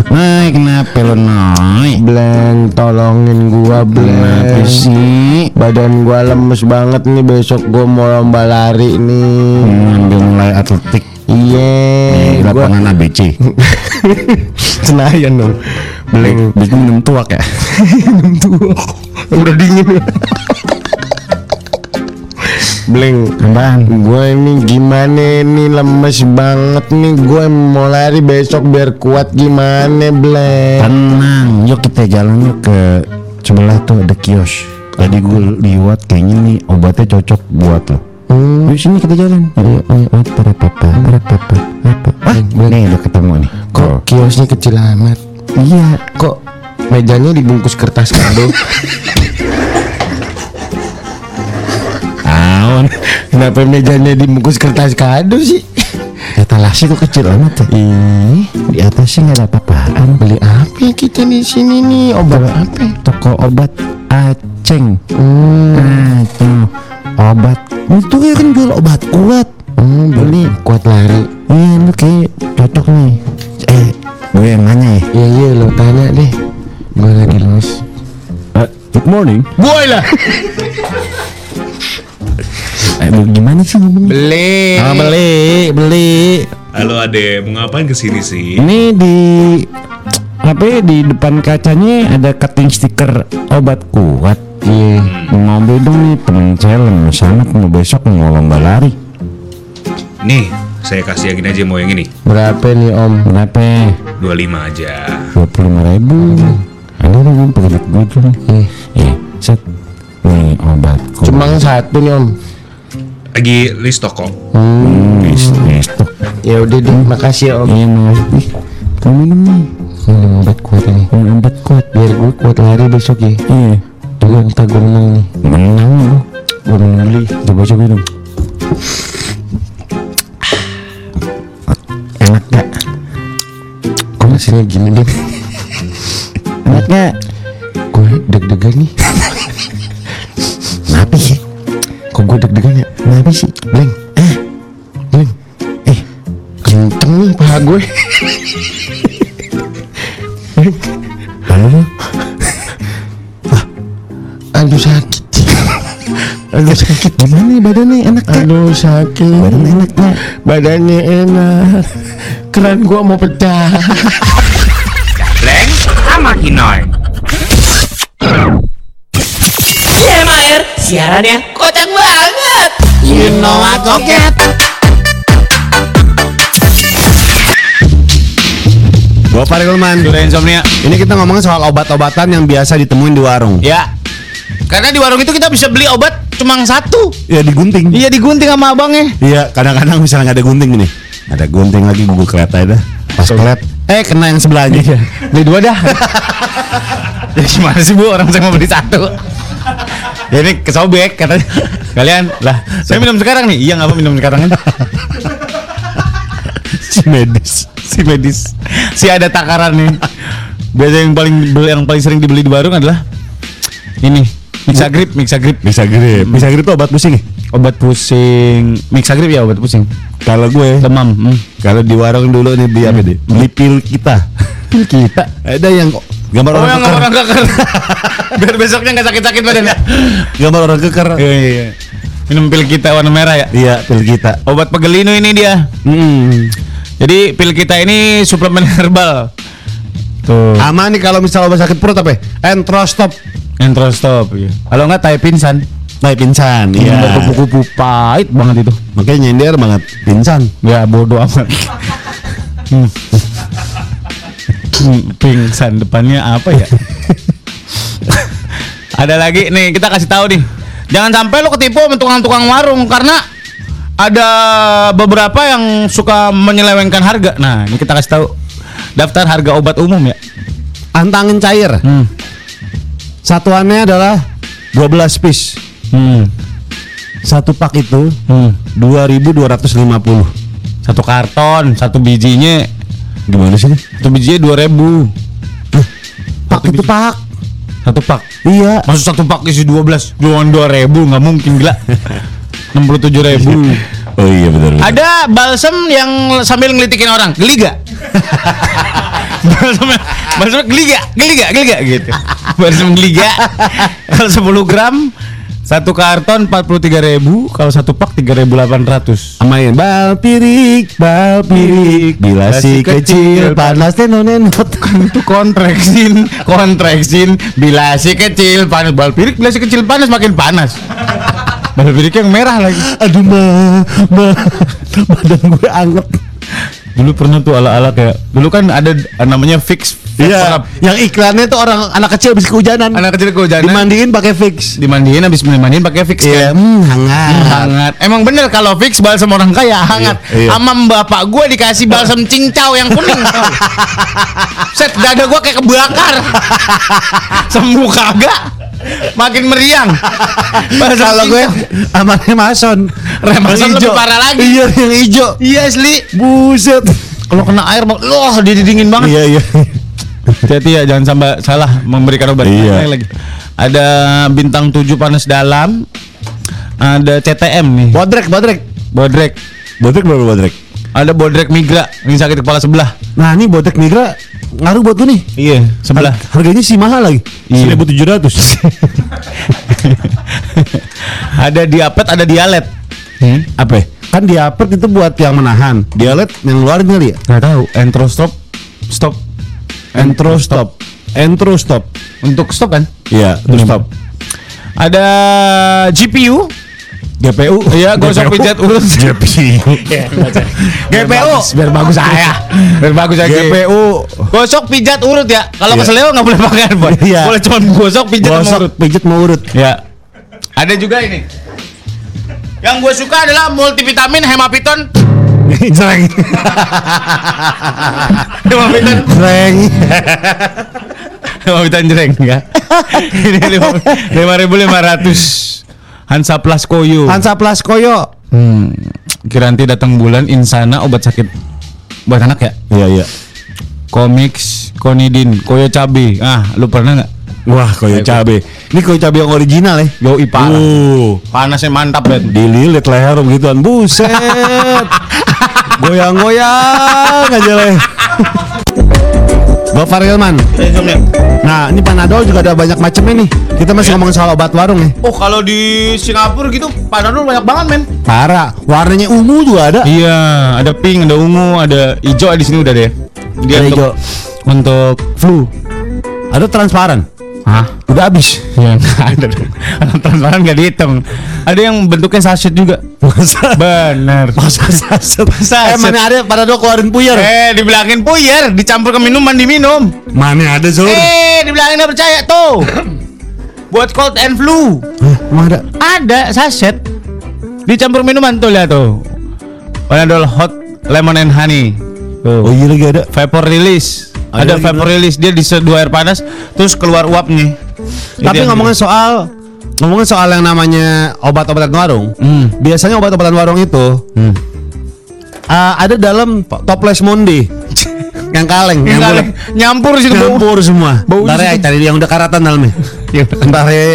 [SPEAKER 2] Hai kenapa lo noy
[SPEAKER 5] Bleng, tolongin gua
[SPEAKER 2] Kenapa
[SPEAKER 5] Bleng
[SPEAKER 2] sih
[SPEAKER 5] Badan gua lemes banget nih besok gua mau lomba lari nih
[SPEAKER 2] Ngambil nilai atletik
[SPEAKER 5] Iye,
[SPEAKER 2] di
[SPEAKER 5] gua
[SPEAKER 2] lapangan ABC
[SPEAKER 5] Senayan dong Bleng
[SPEAKER 2] Bisa minum tuak ya
[SPEAKER 5] Udah dingin ya Bleng
[SPEAKER 2] Apaan?
[SPEAKER 5] Gue ini gimana nih lemes banget nih Gue mau lari besok biar kuat gimana Bleng
[SPEAKER 2] Tenang, yuk kita jalan yuk ke sebelah tuh ada kios Tadi gue liwat kayaknya nih obatnya cocok buat lo
[SPEAKER 5] Hmm, oh,
[SPEAKER 2] Yuk sini kita jalan Ayo ayo ayo para papa para papa Wah nih udah ketemu nih
[SPEAKER 5] Kok kiosnya kecil amat
[SPEAKER 2] Iya
[SPEAKER 5] Kok mejanya dibungkus kertas kan, kado
[SPEAKER 2] Aon
[SPEAKER 5] Kenapa mejanya dibungkus kertas kado sih?
[SPEAKER 2] Etalasi kok kecil amat ya
[SPEAKER 5] Ih,
[SPEAKER 2] Di atasnya nggak ada apa-apaan
[SPEAKER 5] beli apa ya kita di sini nih? Obat apa? ya?
[SPEAKER 2] Toko obat Aceng
[SPEAKER 5] Hmm,
[SPEAKER 2] Nah tuh Obat Itu ya kan jual obat kuat
[SPEAKER 5] hmm, beli kuat lari.
[SPEAKER 2] Iya lu kayak cocok nih Eh Gue yang nanya ya
[SPEAKER 5] Iya iya lo tanya deh. Gue lagi los.
[SPEAKER 2] Eh, Good morning
[SPEAKER 1] Boy lah.
[SPEAKER 2] eh, lu Gimana sih ngomongnya
[SPEAKER 1] Beli.
[SPEAKER 2] Ah, Beli Beli
[SPEAKER 6] Halo Ade, mau ngapain kesini sih?
[SPEAKER 2] Ini di Apa ya di depan kacanya ada cutting stiker obat kuat
[SPEAKER 5] Iya.
[SPEAKER 2] Mau beli dong nih temen saya lemes sangat mau besok mau lomba lari
[SPEAKER 6] Nih, Saya kasih yang ini aja mau yang ini.
[SPEAKER 5] Berapa nih om?
[SPEAKER 2] Berapa?
[SPEAKER 6] 25 aja.
[SPEAKER 2] Dua puluh lima ribu. Ada orang yang pakai duit gue tuh.
[SPEAKER 5] Iya.
[SPEAKER 2] Eh, set. Nih obatku.
[SPEAKER 5] Cuma satu nih om.
[SPEAKER 6] Lagi list toko.
[SPEAKER 2] nih, nih, stok.
[SPEAKER 5] Ya udah deh, makasih ya om.
[SPEAKER 2] Iya makasih. Ih, Kamu minum nih.
[SPEAKER 5] Minum obat kuat ini.
[SPEAKER 2] Minum obat kuat.
[SPEAKER 5] Biar gue kuat lari besok ya.
[SPEAKER 2] Iya.
[SPEAKER 5] Tunggu ntar gue menang nih.
[SPEAKER 2] Menang lu. Gue udah beli. Coba coba dong. Enak gak?
[SPEAKER 5] Gue rasanya gini deh.
[SPEAKER 2] Enak gak?
[SPEAKER 5] Gue deg-degan nih.
[SPEAKER 2] Kenapa sih?
[SPEAKER 5] Kok gue deg-degan ya?
[SPEAKER 2] Kenapa sih?
[SPEAKER 5] Bleng. Eh. Bleng. Eh. Kenceng nih paha gue. Bleng.
[SPEAKER 2] Halo?
[SPEAKER 5] Aduh sakit. Aduh sakit.
[SPEAKER 2] Gimana nih badannya? Enak gak?
[SPEAKER 5] Aduh sakit.
[SPEAKER 2] Badan enak gak?
[SPEAKER 5] Badannya enak. Keran gua mau pecah.
[SPEAKER 3] Bleng sama Kinoy.
[SPEAKER 7] Mair, siarannya kocak banget. You know I don't get.
[SPEAKER 2] Gua Farid Ulman.
[SPEAKER 1] Durian insomnia.
[SPEAKER 2] Ini kita ngomongin soal obat-obatan yang biasa ditemuin di warung.
[SPEAKER 1] Ya. Karena di warung itu kita bisa beli obat cuma satu.
[SPEAKER 2] Ya digunting.
[SPEAKER 1] Iya digunting sama abangnya.
[SPEAKER 2] Iya, kadang-kadang misalnya nggak ada gunting nih. Ada gunting lagi gua kereta dah. Pas kelet, eh kena yang sebelahnya.
[SPEAKER 1] Beli dua dah. <laughs> ya gimana sih bu orang saya mau beli satu. ya ini kesobek katanya. Kalian lah, saya minum sekarang nih. Iya nggak apa minum sekarang kan? <laughs> si medis, si medis, si ada takaran nih. Biasa yang paling beli- yang paling sering dibeli di warung adalah ini mixagrip, mixagrip,
[SPEAKER 2] Bisa grip. Bisa grip tuh obat pusing ya?
[SPEAKER 1] obat pusing, mixagrip ya obat pusing,
[SPEAKER 2] Kalau gue,
[SPEAKER 1] demam. Hmm.
[SPEAKER 2] kalau di warung dulu nih beli apa deh? Beli pil kita. Hmm. Pil kita. Ada yang gambar
[SPEAKER 1] Oh, yang
[SPEAKER 2] orang keker.
[SPEAKER 1] orang keker. <laughs> Biar besoknya nggak sakit-sakit badannya.
[SPEAKER 2] Gambar orang keker.
[SPEAKER 1] Iya, iya, iya. Minum pil kita warna merah ya.
[SPEAKER 2] Iya, pil kita.
[SPEAKER 1] Obat pegelinu ini dia.
[SPEAKER 2] Hmm.
[SPEAKER 1] Jadi pil kita ini suplemen <laughs> herbal. Ah. Tuh.
[SPEAKER 2] Aman nih kalau misalnya obat sakit perut apa? ya? Entrostop.
[SPEAKER 1] Entrostop. Iya. Kalau nggak tai pingsan.
[SPEAKER 2] Naik pingsan.
[SPEAKER 1] Minum
[SPEAKER 2] Iya.
[SPEAKER 1] Kupu-kupu pahit banget itu.
[SPEAKER 2] Makanya nyender banget. Pingsan.
[SPEAKER 1] Ya bodoh amat. Hmm. Hmm, Pingsan depannya apa ya? ada lagi nih kita kasih tahu nih. Jangan sampai lo ketipu sama tukang-tukang warung karena ada beberapa yang suka menyelewengkan harga. Nah, ini kita kasih tahu daftar harga obat umum ya.
[SPEAKER 2] Antangin cair.
[SPEAKER 1] Hmm.
[SPEAKER 2] Satuannya adalah 12 piece.
[SPEAKER 1] Hmm.
[SPEAKER 2] Satu pak itu
[SPEAKER 1] Hmm.
[SPEAKER 2] 2250.
[SPEAKER 1] Satu karton, satu bijinya,
[SPEAKER 2] Gimana sih?
[SPEAKER 1] satu bijinya 2000.
[SPEAKER 2] Pak itu pak.
[SPEAKER 1] Satu pak.
[SPEAKER 2] Iya.
[SPEAKER 1] Maksud satu pak isi 12 Jualan 2 ribu nggak mungkin <laughs> gila 67 ribu
[SPEAKER 2] Oh iya benar.
[SPEAKER 1] Ada balsem yang sambil ngelitikin orang Geli gak? <laughs> balsem balsem geli gak? Geli gak? Geli gak? Gitu Balsem geli <laughs> gak? Kalau 10 gram Satu karton 43 ribu Kalau satu pak 3.800
[SPEAKER 2] Amain bal pirik, bal pirik. Bila si kecil panas nenonenot. <laughs>
[SPEAKER 1] itu kontraksin kontraksin bila si kecil panas bal pirik bila si kecil panas makin <laughs> panas bal pirik yang merah lagi
[SPEAKER 2] Aduh ma, ma, badan gue anget.
[SPEAKER 1] dulu pernah tuh ala-ala kayak dulu kan ada namanya fix fix
[SPEAKER 2] Iya,
[SPEAKER 1] perap.
[SPEAKER 2] yang iklannya tuh orang anak kecil habis kehujanan.
[SPEAKER 1] anak kecil kehujanan
[SPEAKER 2] Dimandiin pakai fix.
[SPEAKER 1] dimandiin habis dimandiin pakai fix kan?
[SPEAKER 2] Iya, hmm, hangat.
[SPEAKER 1] hangat emang bener kalau fix balsam orang kaya hangat
[SPEAKER 2] Iya, iya.
[SPEAKER 1] amam bapak gue dikasih balsam cincau yang kuning tau. set dada gue kayak <laughs> kebakar sembuh kagak makin meriang Balsam
[SPEAKER 2] Kalau gue
[SPEAKER 1] cincau.
[SPEAKER 2] amannya mason.
[SPEAKER 1] Rem
[SPEAKER 2] Yang
[SPEAKER 1] mason lebih
[SPEAKER 2] ijo.
[SPEAKER 1] parah lagi.
[SPEAKER 2] Iya, yang hijau.
[SPEAKER 1] iya asli
[SPEAKER 2] Buset.
[SPEAKER 1] kalau kena air bang- loh dia dingin banget
[SPEAKER 2] Iya, iya.
[SPEAKER 1] Hati-hati ya, jangan sampai salah memberikan obat.
[SPEAKER 2] Iya.
[SPEAKER 1] Ada lagi. Ada bintang 7 panas dalam. Ada CTM nih.
[SPEAKER 2] Bodrek, bodrek.
[SPEAKER 1] Bodrek.
[SPEAKER 2] Bodrek berapa bodrek?
[SPEAKER 1] Ada bodrek migra, ini sakit kepala sebelah.
[SPEAKER 2] Nah ini bodrek migra ngaruh buat gue nih.
[SPEAKER 1] Iya, sebelah. <laughs>
[SPEAKER 2] Har- Harganya sih mahal lagi.
[SPEAKER 1] Iya.
[SPEAKER 2] 1700. <laughs>
[SPEAKER 1] ada diapet, ada dialet.
[SPEAKER 2] Apa? ya? Kan diapet itu buat yang menahan. Dialet yang ngeluarin kali ya.
[SPEAKER 1] Gak tahu. Entro stop, stop.
[SPEAKER 2] Entro stop. Entro stop.
[SPEAKER 1] Untuk stop kan?
[SPEAKER 2] Iya, terus stop.
[SPEAKER 1] Ada GPU,
[SPEAKER 2] GPU
[SPEAKER 1] Iya, gosok <laughs> pijat urus.
[SPEAKER 2] GPU
[SPEAKER 1] GPU.
[SPEAKER 5] biar bagus
[SPEAKER 1] saya. Biar Ya, bagus aja.
[SPEAKER 2] GPU
[SPEAKER 1] Gosok pijat urut ya. Kalau
[SPEAKER 2] Iya.
[SPEAKER 1] ke Seleo nggak boleh pakai handphone.
[SPEAKER 2] Iya.
[SPEAKER 1] Boleh cuma gosok pijat sama
[SPEAKER 2] gosok
[SPEAKER 1] urut.
[SPEAKER 2] pijit mau urut
[SPEAKER 1] Ya. Ada juga ini. Yang gue suka adalah multivitamin hemapiton.
[SPEAKER 2] Jreng
[SPEAKER 1] Hemapiton.
[SPEAKER 2] Jreng
[SPEAKER 1] <laughs> Hemapiton jreng <laughs> ya. ini lima- lima ribu lima ratus. Hansa Plus Koyo.
[SPEAKER 2] Hansa Plus Koyo
[SPEAKER 1] Hmm. Kiranti datang bulan insana obat sakit buat anak ya.
[SPEAKER 2] Iya iya
[SPEAKER 1] Komiks Konidin Koyo Cabe. Ah, lu pernah nggak?
[SPEAKER 2] Wah koyo cabe Ini koyo cabe yang original ya
[SPEAKER 1] Yo Ipa.
[SPEAKER 2] Uh
[SPEAKER 1] Panasnya mantap banget.
[SPEAKER 2] Dililit leher begituan Buset <laughs> Goyang-goyang aja leh Gue Farilman
[SPEAKER 1] Iya, ya.
[SPEAKER 2] Nah ini Panadol juga ada banyak macamnya nih Kita masih ngomongin soal obat warung ya
[SPEAKER 1] Iya. Oh kalau di Singapura gitu panadol banyak banget men.
[SPEAKER 2] Parah Warnanya ungu juga ada
[SPEAKER 1] Iya, ada pink, ada ungu, ada hijau di sini udah deh. Dia
[SPEAKER 2] Ada
[SPEAKER 1] untuk
[SPEAKER 2] hijau.
[SPEAKER 1] untuk
[SPEAKER 2] Flu Ada transparan
[SPEAKER 1] Hah?
[SPEAKER 2] Udah habis
[SPEAKER 1] Ya <laughs> nggak ada dong. Anak transparan nggak dihitung. Ada yang bentuknya sachet juga.
[SPEAKER 2] Masa
[SPEAKER 1] Bener.
[SPEAKER 2] Masa saset
[SPEAKER 1] Saset.
[SPEAKER 2] Eh mana ada Panadol keluarin puyer
[SPEAKER 1] Eh, dibilangin puyer, dicampur ke minuman diminum.
[SPEAKER 2] Mana ada Zul
[SPEAKER 1] Eh, dibilangin nggak percaya <coughs> tuh. Buat cold and flu.
[SPEAKER 2] Hah, emang ada
[SPEAKER 1] Ada sachet. Dicampur minuman tuh lihat tuh. Panadol hot lemon and honey. Tuh.
[SPEAKER 2] Oh iya lagi ada
[SPEAKER 1] vapor release ada
[SPEAKER 2] Ada lagi
[SPEAKER 1] vapor
[SPEAKER 2] bener.
[SPEAKER 1] release dia diseduh air panas terus keluar uapnya Itu
[SPEAKER 2] Tapi
[SPEAKER 1] yang
[SPEAKER 2] ngomongin
[SPEAKER 1] dia-
[SPEAKER 2] soal ngomongin soal yang namanya obat-obatan warung,
[SPEAKER 1] Hmm.
[SPEAKER 2] biasanya obat-obatan warung itu
[SPEAKER 1] Hmm.
[SPEAKER 2] uh, ada dalam toples
[SPEAKER 1] <laughs>
[SPEAKER 2] monde yang kaleng, yang
[SPEAKER 1] Nggak,
[SPEAKER 2] bulat.
[SPEAKER 1] nyampur sih tuh
[SPEAKER 2] Nyampur semua.
[SPEAKER 1] Bau
[SPEAKER 2] Ntar ya,
[SPEAKER 1] situ.
[SPEAKER 2] cari yang udah karatan dalamnya. Ntar ya,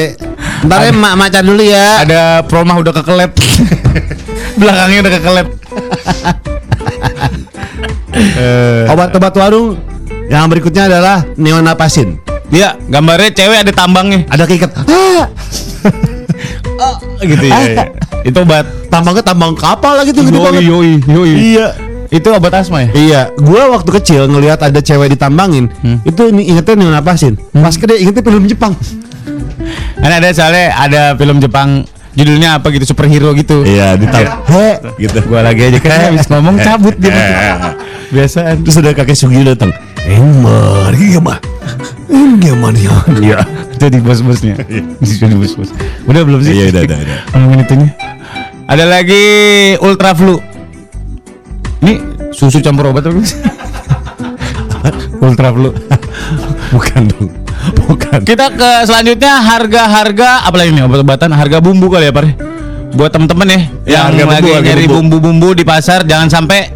[SPEAKER 2] ntar ya mak macan dulu ya.
[SPEAKER 1] ada promah udah kekelep <laughs> belakangnya udah kekelep
[SPEAKER 2] Obat-obat warung yang berikutnya adalah neonapasin.
[SPEAKER 1] iya gambarnya cewek ada tambangnya
[SPEAKER 2] Ada keikat. Ah,
[SPEAKER 1] gitu ya, ya. itu obat
[SPEAKER 2] tambangnya tambang kapal lagi tuh gede
[SPEAKER 1] yoi
[SPEAKER 2] banget.
[SPEAKER 1] yoi yoi
[SPEAKER 2] Iya.
[SPEAKER 1] itu obat asma ya
[SPEAKER 2] Iya, gua waktu kecil ngelihat ada cewek ditambangin, itu ini ingetnya neonapasin. Pas gede ingetnya film Jepang.
[SPEAKER 1] kan ada soalnya ada film Jepang judulnya apa gitu superhero gitu
[SPEAKER 2] Iya, ditambang. He, gitu.
[SPEAKER 1] gua lagi aja kan habis ngomong cabut
[SPEAKER 2] <laughs>
[SPEAKER 1] dia biasaan
[SPEAKER 2] Terus ada kakek Sugi datang. Ember, Eh, gimana? Gimana ya? Iya.
[SPEAKER 1] <laughs> jadi
[SPEAKER 2] <laughs>
[SPEAKER 1] bos-bosnya <laughs> jadi bos-bos udah belum sih
[SPEAKER 2] Iya, udah, udah, udah.
[SPEAKER 1] ngomongin itunya ada lagi ultra flu ini susu campur obat apa
[SPEAKER 2] <laughs>
[SPEAKER 1] gimana sih? ultra flu
[SPEAKER 2] Bukan dong. Bukan.
[SPEAKER 1] kita ke selanjutnya harga-harga apalagi nih obat-obatan harga bumbu kali ya Par buat temen-temen ya,
[SPEAKER 2] Ya,
[SPEAKER 1] yang
[SPEAKER 2] harga bumbu,
[SPEAKER 1] lagi
[SPEAKER 2] harga
[SPEAKER 1] nyari
[SPEAKER 2] bumbu.
[SPEAKER 1] bumbu-bumbu di pasar jangan sampai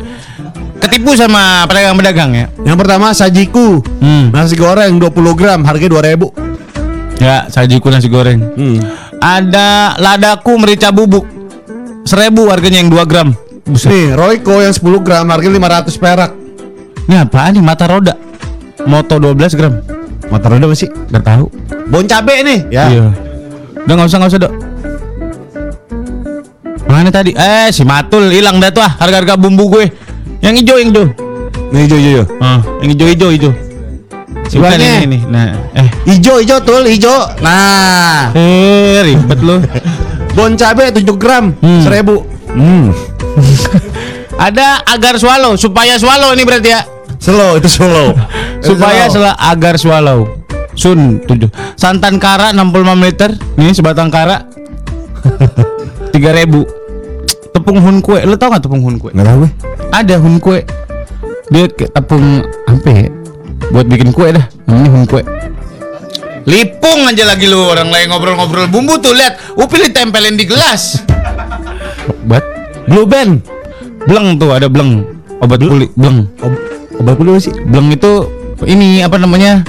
[SPEAKER 1] ketipu sama pedagang-pedagang ya
[SPEAKER 2] Yang pertama sajiku.
[SPEAKER 1] Hmm.
[SPEAKER 2] Nasi goreng 20 gram harganya 2000.
[SPEAKER 1] ya sajiku nasi goreng
[SPEAKER 2] Hmm.
[SPEAKER 1] ada ladaku merica bubuk seribu harganya yang 2 gram
[SPEAKER 2] Nih, Royco yang 10 gram harganya 500 perak.
[SPEAKER 1] ini apaan nih mata roda moto 12 gram
[SPEAKER 2] Motor udah masih
[SPEAKER 1] gak tahu
[SPEAKER 2] Bon cabe nih. Ya.
[SPEAKER 1] iya udah nggak usah nggak usah dok mana tadi eh si matul hilang dah tuh ah harga-harga bumbu gue yang hijau yang hijau
[SPEAKER 2] Nih, jo jo jo.
[SPEAKER 1] ah, yang hijau hijau hijau Bukan
[SPEAKER 2] Sebelahnya.
[SPEAKER 1] ini, ini, nah, eh,
[SPEAKER 2] Ijo, ijo, tul, ijo. Nah.
[SPEAKER 1] eh, ribet lu. <laughs>
[SPEAKER 2] Bon cabe 7 gram,
[SPEAKER 1] Hmm.
[SPEAKER 2] 1000.
[SPEAKER 1] <laughs> Ada agar swallow, supaya swallow ini berarti ya.
[SPEAKER 2] Slow itu <laughs> slow.
[SPEAKER 1] supaya sel- agar swallow sun 7 santan kara 65 liter nih sebatang kara <laughs> 3000 tepung hun kue lo tau gak tepung hun kue
[SPEAKER 2] Enggak tahu gue.
[SPEAKER 1] ada hun kue dia ke tepung apa ya buat bikin kue dah namanya hun kue lipung aja lagi lu orang lain ngobrol-ngobrol bumbu tuh lihat upil ditempelin di gelas obat
[SPEAKER 2] Blue Band.
[SPEAKER 1] bleng tuh ada bleng obat kulit bleng
[SPEAKER 2] Ob- obat dulu sih.
[SPEAKER 1] belum itu ini apa namanya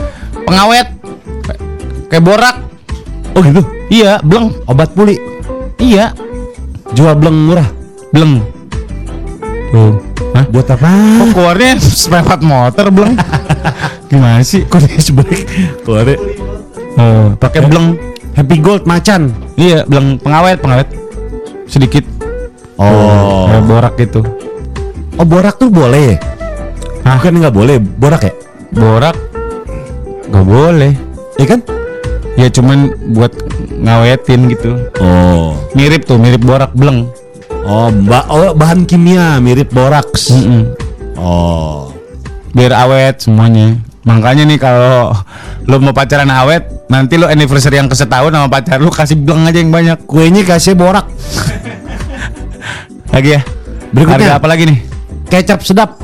[SPEAKER 1] pengawet Kayak- kayak borak
[SPEAKER 2] Oh gitu.
[SPEAKER 1] iya bleng
[SPEAKER 2] Obat puli.
[SPEAKER 1] iya
[SPEAKER 2] Jual bleng murah.
[SPEAKER 1] bleng tuh Hah?
[SPEAKER 2] Buat apa?
[SPEAKER 1] kok keluarnya sepepet motor
[SPEAKER 2] <laughs>
[SPEAKER 1] bleng gimana sih
[SPEAKER 2] Kok dia sebalik? Keluarin.
[SPEAKER 1] oh, pakai bleng
[SPEAKER 2] Happy Gold macan.
[SPEAKER 1] iya bleng pengawet pengawet sedikit
[SPEAKER 2] Oh.
[SPEAKER 1] kayak borak gitu
[SPEAKER 2] Oh borak tuh boleh.
[SPEAKER 1] Hah?
[SPEAKER 2] Bukan nggak boleh borak ya?
[SPEAKER 1] borak gak boleh
[SPEAKER 2] Iya kan?
[SPEAKER 1] ya cuman buat ngawetin gitu
[SPEAKER 2] Oh.
[SPEAKER 1] Mirip tuh, mirip borak bleng.
[SPEAKER 2] Oh, ba- oh, bahan kimia mirip boraks.
[SPEAKER 1] Mm-mm.
[SPEAKER 2] Oh.
[SPEAKER 1] Biar awet semuanya. Makanya nih kalau lu mau pacaran awet, nanti lu anniversary yang kesetahun sama pacar lu kasih bleng aja yang banyak.
[SPEAKER 2] Kuenya kasih borak.
[SPEAKER 1] Lagi ya. Harga
[SPEAKER 2] Berikutnya.
[SPEAKER 1] apa lagi nih?
[SPEAKER 2] Kecap sedap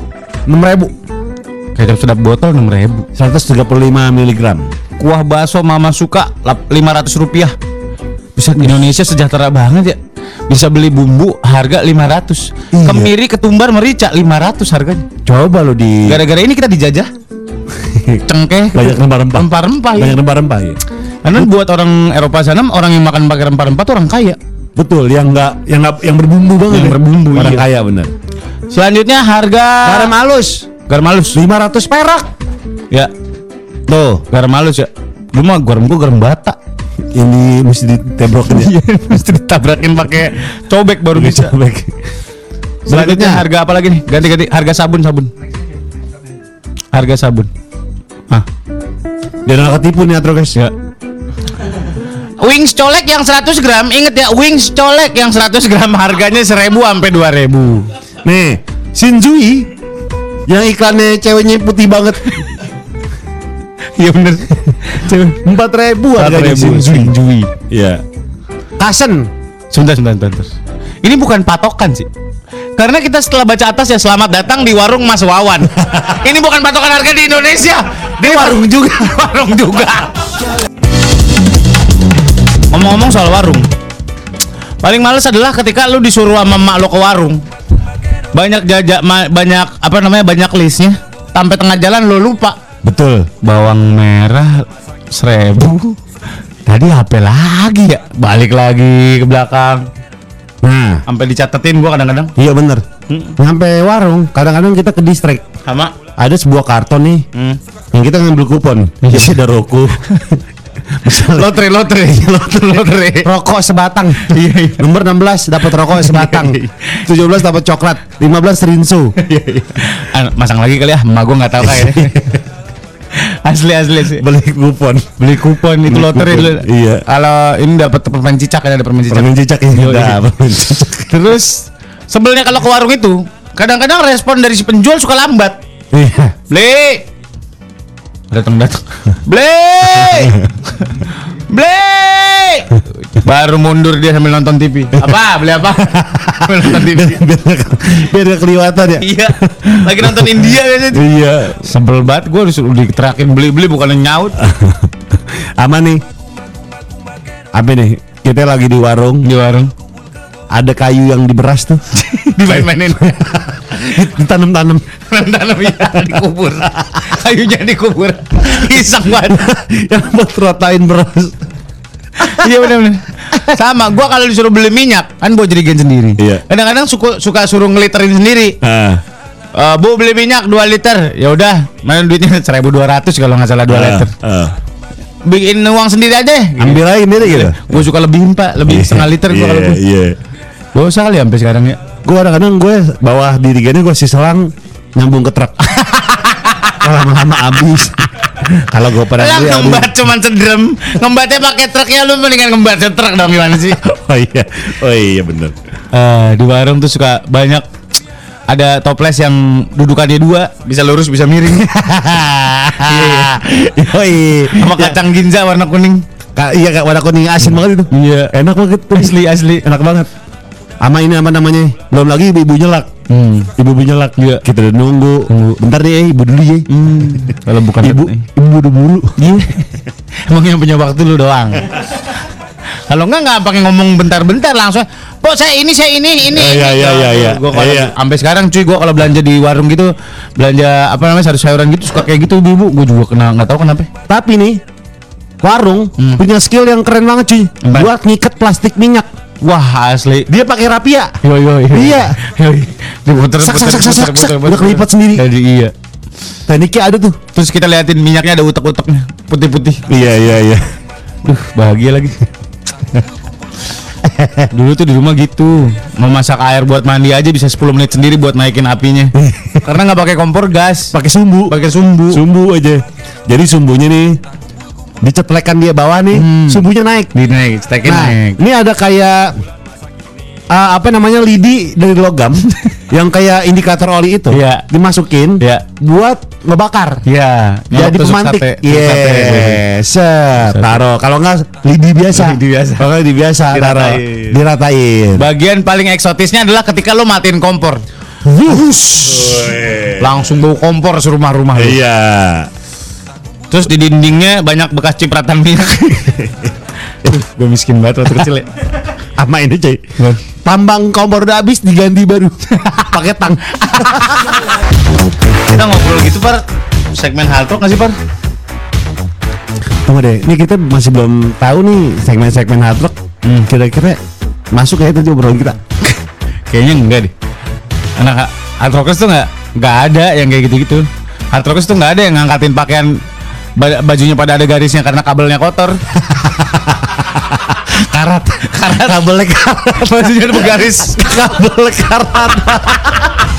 [SPEAKER 2] 6000
[SPEAKER 1] Kecap sedap botol 6 ribu
[SPEAKER 2] 135 mg.
[SPEAKER 1] Kuah bakso mama suka lap- 500 rupiah Bisa Indonesia sejahtera banget ya Bisa beli bumbu harga 500
[SPEAKER 2] Iya.
[SPEAKER 1] Kemiri, ketumbar, merica 500 harganya
[SPEAKER 2] Coba lu di
[SPEAKER 1] Gara-gara ini kita
[SPEAKER 2] <laughs>
[SPEAKER 1] dijajah Cengkeh
[SPEAKER 2] Iya. banyak rempah-rempah.
[SPEAKER 1] Rempah-rempah ya.
[SPEAKER 2] Banyak rempah-rempah ya.
[SPEAKER 1] Karena buat orang Eropa sana Orang yang makan pakai rempah-rempah tuh orang kaya
[SPEAKER 2] Betul, yang enggak yang nggak- yang berbumbu banget.
[SPEAKER 1] Yang
[SPEAKER 2] ya.
[SPEAKER 1] berbumbu,
[SPEAKER 2] Orang
[SPEAKER 1] iya.
[SPEAKER 2] kaya bener.
[SPEAKER 1] Selanjutnya harga
[SPEAKER 2] Garam halus
[SPEAKER 1] Garam halus
[SPEAKER 2] 500 perak.
[SPEAKER 1] Ya Tuh garam halus ya Lu mah garam gua garam bata
[SPEAKER 2] Ini mesti ditebrokin ya.
[SPEAKER 1] <laughs> Mesti ditabrakin pakai Iya. cobek baru bisa
[SPEAKER 2] Baik.
[SPEAKER 1] Selanjutnya
[SPEAKER 2] Berikutnya.
[SPEAKER 1] harga apa lagi nih? Ganti-ganti harga sabun sabun. Harga sabun. Ah,
[SPEAKER 2] Dia nggak ketipu nih Atro guys.
[SPEAKER 1] Iya. wings colek yang 100 gram, inget ya, wings colek yang 100 gram harganya 1000 sampai 2000.
[SPEAKER 2] Nih, Shinzui yang iklannya ceweknya putih banget.
[SPEAKER 1] Iya <laughs> bener.
[SPEAKER 2] 4000 harganya
[SPEAKER 1] 4000
[SPEAKER 2] Shinzui.
[SPEAKER 1] Shinzui.
[SPEAKER 2] <laughs> Iya. Kasen.
[SPEAKER 1] Sebentar, sebentar, sebentar. sebentar. Ini bukan patokan sih. Karena kita setelah baca atas ya selamat datang di warung Mas Wawan. Ini bukan patokan harga di Indonesia. Di warung juga, <laughs> warung juga. Ngomong-ngomong soal warung. Paling males adalah ketika lu disuruh sama emak lo ke warung. Banyak jajak ma- banyak apa namanya? banyak listnya. Sampai tengah jalan lu lupa.
[SPEAKER 2] Betul.
[SPEAKER 1] Bawang merah seribu. Tadi HP lagi ya, balik lagi ke belakang
[SPEAKER 2] Nah,
[SPEAKER 1] sampai dicatetin gua kadang-kadang
[SPEAKER 2] iya bener. Nyampe warung, kadang-kadang kita ke distrik.
[SPEAKER 1] sama
[SPEAKER 2] Ada sebuah karton nih <laughs>
[SPEAKER 1] hmm.
[SPEAKER 2] yang kita ngambil kupon. Jadi ada <laughs> rokok. Misalnya
[SPEAKER 1] lotre lotre <laughs> lotre lotre
[SPEAKER 2] rokok sebatang.
[SPEAKER 1] Iya, iya.
[SPEAKER 2] Nomor 16 dapat rokok sebatang. 17 dapat
[SPEAKER 1] <laughs>
[SPEAKER 2] coklat, 15 rinso.
[SPEAKER 1] Ah, masang lagi kali ya emak gua nggak tahu kayaknya
[SPEAKER 2] <laughs>
[SPEAKER 1] asli asli sih
[SPEAKER 2] Beli kupon.
[SPEAKER 1] beli kupon itu
[SPEAKER 2] Beli
[SPEAKER 1] lotre
[SPEAKER 2] kupon,
[SPEAKER 1] dulu
[SPEAKER 2] iya.
[SPEAKER 1] kalau ini dapat permen cicak kan ada permen cicak
[SPEAKER 2] Permen cicak ya.
[SPEAKER 1] Yoi.
[SPEAKER 2] Nah, permen cicak.
[SPEAKER 1] terus sebelnya kalau ke warung itu kadang-kadang respon dari si penjual suka lambat
[SPEAKER 2] Iya.
[SPEAKER 1] beli datang datang <laughs> beli beli baru mundur dia sambil nonton TV apa beli apa sambil nonton TV
[SPEAKER 2] biar nggak- biar nggak kelihatan ya
[SPEAKER 1] iya lagi nonton India biasanya
[SPEAKER 2] iya
[SPEAKER 1] sebel banget gue disuruh diterakin beli beli bukan nyaut
[SPEAKER 2] <laughs> aman nih apa nih kita lagi di warung
[SPEAKER 1] di warung
[SPEAKER 2] ada kayu yang diberas <laughs> tuh
[SPEAKER 1] dimain-mainin
[SPEAKER 2] ditanam-tanam <laughs>
[SPEAKER 1] tanam ya dikubur kayunya dikubur iseng banget
[SPEAKER 2] yang buat rotain beras
[SPEAKER 1] iya benar-benar sama gua kalau disuruh beli minyak kan gua jerigen sendiri
[SPEAKER 2] Iya.
[SPEAKER 1] kadang-kadang suka suka suruh ngeliterin sendiri
[SPEAKER 2] ah
[SPEAKER 1] Eh, bu beli minyak 2 liter. Ya udah, main duitnya <laughs> 1200 kalau nggak salah 2
[SPEAKER 2] ah,
[SPEAKER 1] liter. Bikin uang sendiri aja.
[SPEAKER 2] ambil aja sendiri gitu
[SPEAKER 1] Gue suka lebih pak, lebih setengah liter gue kalau
[SPEAKER 2] iya
[SPEAKER 1] gue.
[SPEAKER 2] iya
[SPEAKER 1] Gak usah kali sampai sekarang ya.
[SPEAKER 2] gue kadang-kadang gue bawah dirigennya gue siselang nyambung ke <laughs> truk Kalau lama-lama habis kalau gue pada
[SPEAKER 1] Lah ngembat cuman cendrem. Ngembatnya pakai truknya lu mendingan ngembatnya <laughs> truk dong gimana sih?
[SPEAKER 2] oh iya oh iya bener
[SPEAKER 1] Eh, di warung tuh suka banyak ada toples yang dudukannya dua, bisa lurus bisa <laughs> miring. Iya,
[SPEAKER 2] Yoi.
[SPEAKER 1] Sama kacang ginja warna kuning.
[SPEAKER 2] Ka- iya kak warna kuning asin banget itu.
[SPEAKER 1] Iya.
[SPEAKER 2] Enak banget tuh.
[SPEAKER 1] Asli asli.
[SPEAKER 2] Enak banget. Ama ini apa namanya? Belum lagi ibu-ibu nyelak.
[SPEAKER 1] Hmm.
[SPEAKER 2] Ibu-ibu nyelak.
[SPEAKER 1] Iya. Hmm.
[SPEAKER 2] Kita udah nunggu. Bentar deh, eh, ibu dulu ya.
[SPEAKER 1] Kalau bukan
[SPEAKER 2] Ibu, ibu udah bulu.
[SPEAKER 1] Iya. <laughs> Emang yang punya waktu lu doang. Kalau enggak nggak pakai ngomong bentar-bentar langsung. Po saya ini saya ini ini.
[SPEAKER 2] Eh, iya,
[SPEAKER 1] ini."
[SPEAKER 2] iya, iya, iya.
[SPEAKER 1] Gua kalau-
[SPEAKER 2] Iya.
[SPEAKER 1] sampai sekarang cuy gua kalau belanja di warung gitu, belanja apa namanya sayur-sayuran gitu suka kayak gitu ibu-ibu. Gua juga kena nggak tahu kenapa.
[SPEAKER 2] Tapi nih warung punya skill yang keren banget cuy.
[SPEAKER 1] Hmm. Apa?
[SPEAKER 2] Buat ngikat plastik minyak.
[SPEAKER 1] Wah, asli.
[SPEAKER 2] Dia pakai rapia.
[SPEAKER 1] Yo yo <laughs> yo.
[SPEAKER 2] Iya.
[SPEAKER 1] Yoi. Diputer
[SPEAKER 2] Sak, sak,
[SPEAKER 1] puter puter
[SPEAKER 2] sak, sak, sak,
[SPEAKER 1] puter
[SPEAKER 2] sak.
[SPEAKER 1] puter.
[SPEAKER 2] Udah kelipat sendiri.
[SPEAKER 1] Jadi iya.
[SPEAKER 2] Tekniknya ada tuh.
[SPEAKER 1] Terus kita liatin minyaknya ada utek-uteknya putih-putih.
[SPEAKER 2] Iya iya iya.
[SPEAKER 1] Duh, bahagia lagi. <laughs> Dulu tuh di rumah gitu, mau masak air buat mandi aja bisa 10 menit sendiri buat naikin apinya. <laughs> Karena nggak pakai kompor gas,
[SPEAKER 2] Pakai sumbu.
[SPEAKER 1] pakai sumbu.
[SPEAKER 2] Sumbu aja. Jadi sumbunya nih
[SPEAKER 1] Hmm.
[SPEAKER 2] dicetlekan dia bawah nih, sumbunya naik.
[SPEAKER 1] Dinaik, stekin
[SPEAKER 2] Nah,
[SPEAKER 1] naik.
[SPEAKER 2] ini ada kayak eh, apa namanya lidi dari
[SPEAKER 1] <laughs>
[SPEAKER 2] logam yang kayak indikator oli itu
[SPEAKER 1] Iya.
[SPEAKER 2] dimasukin
[SPEAKER 1] Iya.
[SPEAKER 2] buat ngebakar.
[SPEAKER 1] Iya,
[SPEAKER 2] Jadi
[SPEAKER 1] tusuk
[SPEAKER 2] pemantik.
[SPEAKER 1] sate, tusuk sate. iya,
[SPEAKER 2] Yes. set, Taruh. Kalau nggak lidi biasa.
[SPEAKER 1] Lidi biasa. <laughs>
[SPEAKER 2] Kalau lidi biasa taruh.
[SPEAKER 1] Diratain.
[SPEAKER 2] Diratain.
[SPEAKER 1] Bagian paling eksotisnya adalah ketika lo matiin kompor.
[SPEAKER 2] Wush.
[SPEAKER 1] Langsung bau kompor serumah rumah lo.
[SPEAKER 2] Iya.
[SPEAKER 1] Terus di dindingnya banyak bekas cipratan <laughs> minyak. Gue Eh, miskin banget waktu kecil ya.
[SPEAKER 2] Apa ini cuy? Tambang kompor udah habis diganti baru. <laughs> Pakai tang.
[SPEAKER 1] Kita ngobrol gitu par segmen halto nggak sih par?
[SPEAKER 2] Tunggu deh, ini kita masih belum tahu nih segmen-segmen hard rock. Kira-kira masuk ya tadi obrolan kita.
[SPEAKER 1] Kayaknya enggak deh. Anak hard rockers tuh nggak nggak ada yang kayak gitu-gitu. Hard rockers tuh nggak ada yang ngangkatin pakaian ba- bajunya pada ada garisnya karena kabelnya kotor. karat, karat kabelnya karat. bajunya bergaris.
[SPEAKER 2] Kabel karat.